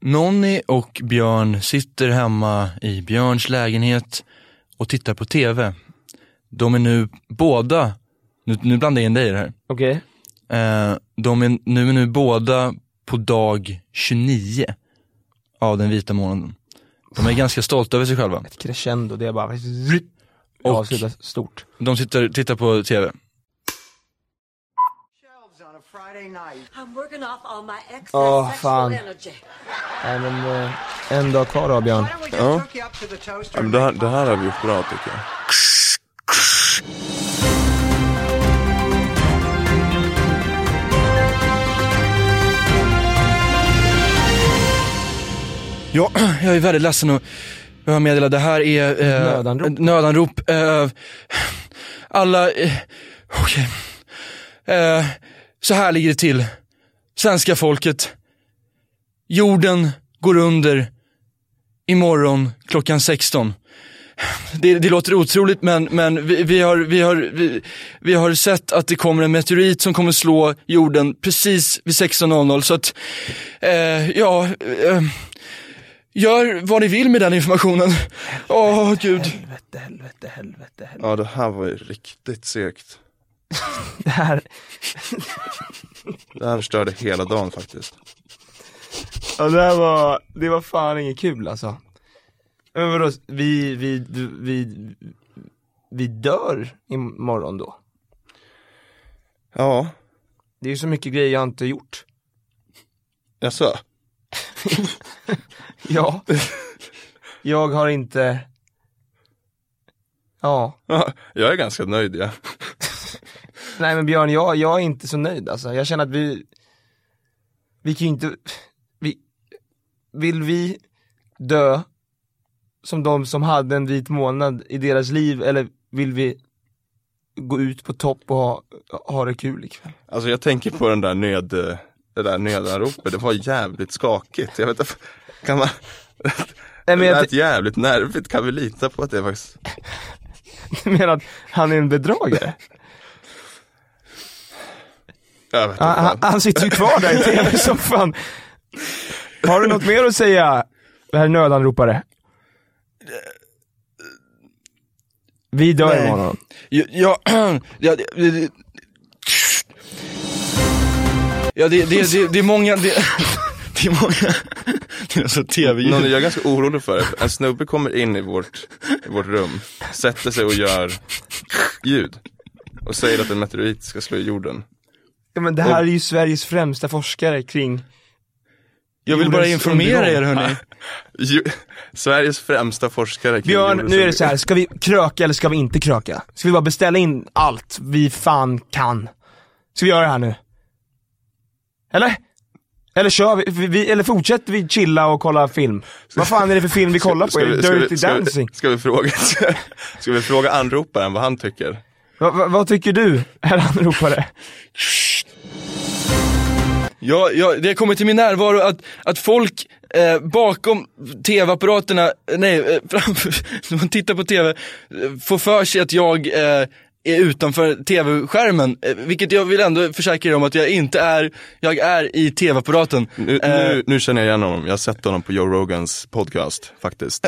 Speaker 2: Nonny och Björn sitter hemma i Björns lägenhet och tittar på TV. De är nu båda, nu, nu blandar jag in dig i det här.
Speaker 3: Okej.
Speaker 2: Eh, de är nu, är nu båda på dag 29 av den vita månaden. De är ganska stolta över sig själva.
Speaker 3: Ett crescendo, det är bara,
Speaker 2: Och-
Speaker 3: avslutas stort.
Speaker 2: De sitter, tittar på TV.
Speaker 5: Friday night. I'm working off all my excess
Speaker 3: Åh,
Speaker 5: sexual
Speaker 3: fan.
Speaker 5: energy.
Speaker 3: Nej men, eh, en dag kvar då Björn.
Speaker 4: Ja. Ja, men det, här, det här har vi gjort bra tycker jag.
Speaker 2: Ja, <clears throat> jag är väldigt ledsen att behöva meddela. Det här är eh, nödanrop. nödanrop eh, alla, eh, okej. Eh, så här ligger det till. Svenska folket. Jorden går under imorgon klockan 16. Det, det låter otroligt men, men vi, vi, har, vi, har, vi, vi har sett att det kommer en meteorit som kommer slå jorden precis vid 16.00 så att, eh, ja, eh, gör vad ni vill med den informationen. Åh gud.
Speaker 4: Ja det här var ju riktigt segt.
Speaker 3: Det här,
Speaker 4: Det här störde hela dagen faktiskt.
Speaker 3: ja, det här var, det var fan inget kul alltså. Men vadå, vi, vi, vi, vi dör imorgon då?
Speaker 4: Ja.
Speaker 3: Det är ju så mycket grejer jag inte gjort.
Speaker 4: Jaså?
Speaker 3: Ja. <laughs> Jag har inte, ja.
Speaker 4: Ja, jag är ganska nöjd ja.
Speaker 3: Nej men Björn, jag, jag är inte så nöjd alltså. Jag känner att vi, vi kan ju inte, vi, vill vi dö som de som hade en vit månad i deras liv eller vill vi gå ut på topp och ha, ha det kul ikväll?
Speaker 4: Alltså jag tänker på den där nöd, det där nödanropet, det var jävligt skakigt. Jag vet inte, kan man
Speaker 3: Nej, men
Speaker 4: Det
Speaker 3: jag <laughs>
Speaker 4: lät jävligt nervigt, kan vi lita på att det faktiskt
Speaker 3: Du menar att han är en bedragare?
Speaker 4: Jag vet inte.
Speaker 3: Han, han, han sitter ju kvar där i tv-soffan. Har du något mer att säga, herr nödanropare? Vi dör
Speaker 2: Nej.
Speaker 3: imorgon.
Speaker 2: Ja, ja, <clears throat> ja, det- det- ja det, det, det, det är många, det, <laughs> det är många, <laughs> det är alltså tv-ljud.
Speaker 4: Någon jag är ganska orolig för, det. en snubbe kommer in i vårt, i vårt rum, sätter sig och gör ljud och säger att en meteorit ska slå i jorden.
Speaker 3: Ja, men det här är ju Sveriges främsta forskare kring
Speaker 2: Jag
Speaker 4: vill bara informera er,
Speaker 2: hörni.
Speaker 4: Ju- Sveriges främsta forskare kring
Speaker 3: Björn,
Speaker 4: jordens
Speaker 3: nu är det
Speaker 4: undergång.
Speaker 3: så här. ska vi kröka eller ska vi inte kröka? Ska vi bara beställa in allt vi fan kan? Ska vi göra det här nu? Eller? Eller kör vi, vi- vi eller fortsätter vi chilla och kolla film? Vad fan är det för film vi kollar på?
Speaker 4: Ska
Speaker 3: Är det
Speaker 4: vi- ska vi-
Speaker 3: Dirty
Speaker 4: ska vi-
Speaker 3: Dancing?
Speaker 4: Ska vi fråga, <laughs> ska vi fråga anroparen vad han tycker?
Speaker 3: Va, va, vad tycker du, herr
Speaker 4: <laughs>
Speaker 3: anropare?
Speaker 2: Ja, ja, det har kommit till min närvaro att, att folk eh, bakom tv-apparaterna, eh, nej, eh, <laughs> framför, när man tittar på tv, eh, får för sig att jag eh, är utanför tv-skärmen. Eh, vilket jag vill ändå försäkra er om att jag inte är, jag är i tv-apparaten. Eh,
Speaker 4: Nu,
Speaker 3: Eh.
Speaker 4: nu, nu känner jag igen honom, jag har sett honom på Joe Rogans podcast
Speaker 3: <laughs>
Speaker 4: faktiskt.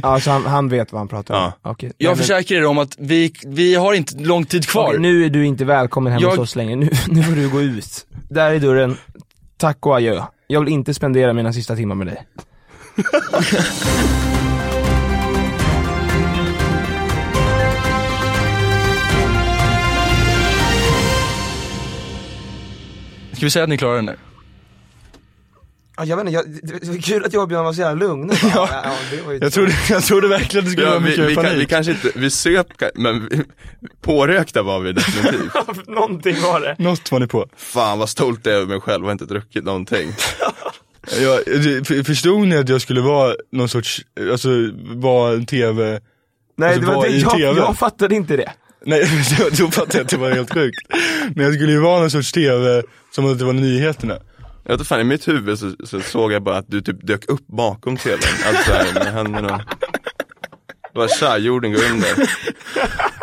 Speaker 3: Alltså han, han vet vad han pratar om. Ja.
Speaker 2: Jag försäkrar er om att vi, vi har inte lång tid kvar.
Speaker 3: Okej, nu är du inte välkommen hem
Speaker 2: Jag-
Speaker 3: hos oss längre. Nu, <laughs> nu får du gå ut. Där är dörren. Tack och adjö. Jag vill inte spendera mina sista timmar med dig.
Speaker 2: Ska vi säga att ni klarar den där?
Speaker 3: Ja, jag vet inte, jag, det- det var kul att jag och Björn var så jävla lugna. <laughs> ja, ja, det var ju
Speaker 2: Jag trodde, <laughs> jag trodde verkligen att det skulle
Speaker 4: Ja,
Speaker 2: vara
Speaker 4: vi,
Speaker 2: mycket
Speaker 4: vi,
Speaker 2: panik.
Speaker 4: kan, vi kanske inte, vi söp, ka- men vi, pårökta var vi definitivt.
Speaker 3: <laughs> Någonting var det.
Speaker 2: Något var ni på.
Speaker 4: Fan vad stolt jag är över mig själv, jag har inte druckit någonting.
Speaker 2: Jag, det- förstod ni att jag skulle vara någon sorts, alltså vara en tv,
Speaker 3: Nej,
Speaker 2: alltså,
Speaker 3: det var
Speaker 2: vara
Speaker 3: det,
Speaker 2: i
Speaker 3: jag,
Speaker 2: TV.
Speaker 3: jag fattade inte det.
Speaker 2: Nej, <laughs> då- då fattade jag att det var helt sjukt. Men jag skulle ju vara någon sorts tv, som att det var nyheterna.
Speaker 4: Jag vet inte fan, i mitt huvud så, så såg jag bara att du typ dök upp bakom tvn, alltså här, med händerna. Det var tja, jorden går under.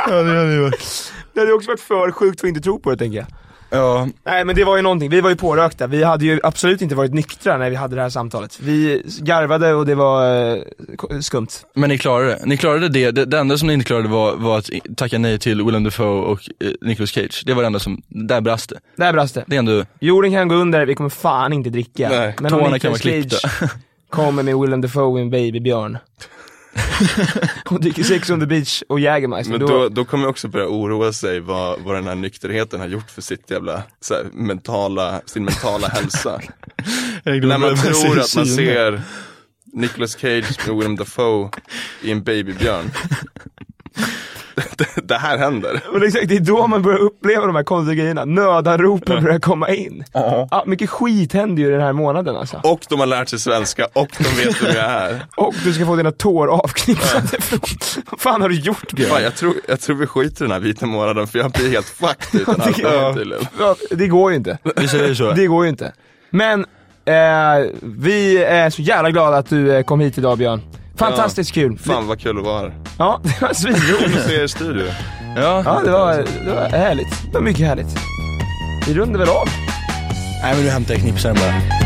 Speaker 2: Ja, det hade ju varit.
Speaker 3: Det hade också varit för sjukt för att inte tro på det tänker jag.
Speaker 2: Ja,
Speaker 3: Nej men det var ju någonting, vi var ju pårökta. Vi hade ju absolut inte varit nyktra när vi hade det här samtalet. Vi garvade och det var eh, ko- skumt.
Speaker 2: men ni klarade det. Ni klarade det. Det, det enda som ni inte klarade var, var att i- tacka nej till Willem Dafoe och eh, Nicolas Cage. Det var det enda som, där brast det.
Speaker 3: Där brast det.
Speaker 2: Det är ändå,
Speaker 3: Jorden kan gå under, vi kommer fan inte dricka.
Speaker 2: Nej,
Speaker 3: om
Speaker 2: tårna
Speaker 3: Nicolas
Speaker 2: kan vara
Speaker 4: <laughs>
Speaker 3: Cage kommer med Willem Dafoe och en babybjörn. och dricker sex on the beach och Jägermeister.
Speaker 4: Men då, då kommer jag också börja oroa sig vad, vad den här nykterheten har gjort för sitt jävla, så här, mentala, sin mentala hälsa. När man tror att man ser Nicolas Cage med Willem Dafoe i en babybjörn. det, det här händer.
Speaker 3: Men exakt, det är då man börjar uppleva de här konstiga grejerna. Nödanropen börjar komma in.
Speaker 4: Ja.
Speaker 3: Ja, mycket skit händer ju den här månaden alltså.
Speaker 4: Och de har lärt sig svenska och de vet vem jag är.
Speaker 3: Och du ska få dina tår avknipsade. Vad fan har du gjort Björn?
Speaker 4: Fan, jag, tror, jag tror vi skiter i den här vita månaden för jag blir helt fucked utan <laughs> alkohol tydligen.
Speaker 3: Ja, det går ju inte.
Speaker 4: Vi säger så.
Speaker 3: Det går ju inte. Men eh, vi är så jävla glada att du eh, kom hit idag Björn. Fantastiskt kul.
Speaker 4: Fan vad kul att vara här.
Speaker 3: Ja, <laughs> det var
Speaker 4: Kul att se
Speaker 3: svinroligt.
Speaker 4: er i studio.
Speaker 3: Ja, det var, det var härligt. Det var mycket härligt. Vi rundar väl av.
Speaker 2: Nej men du hämtar jag knipsaren bara.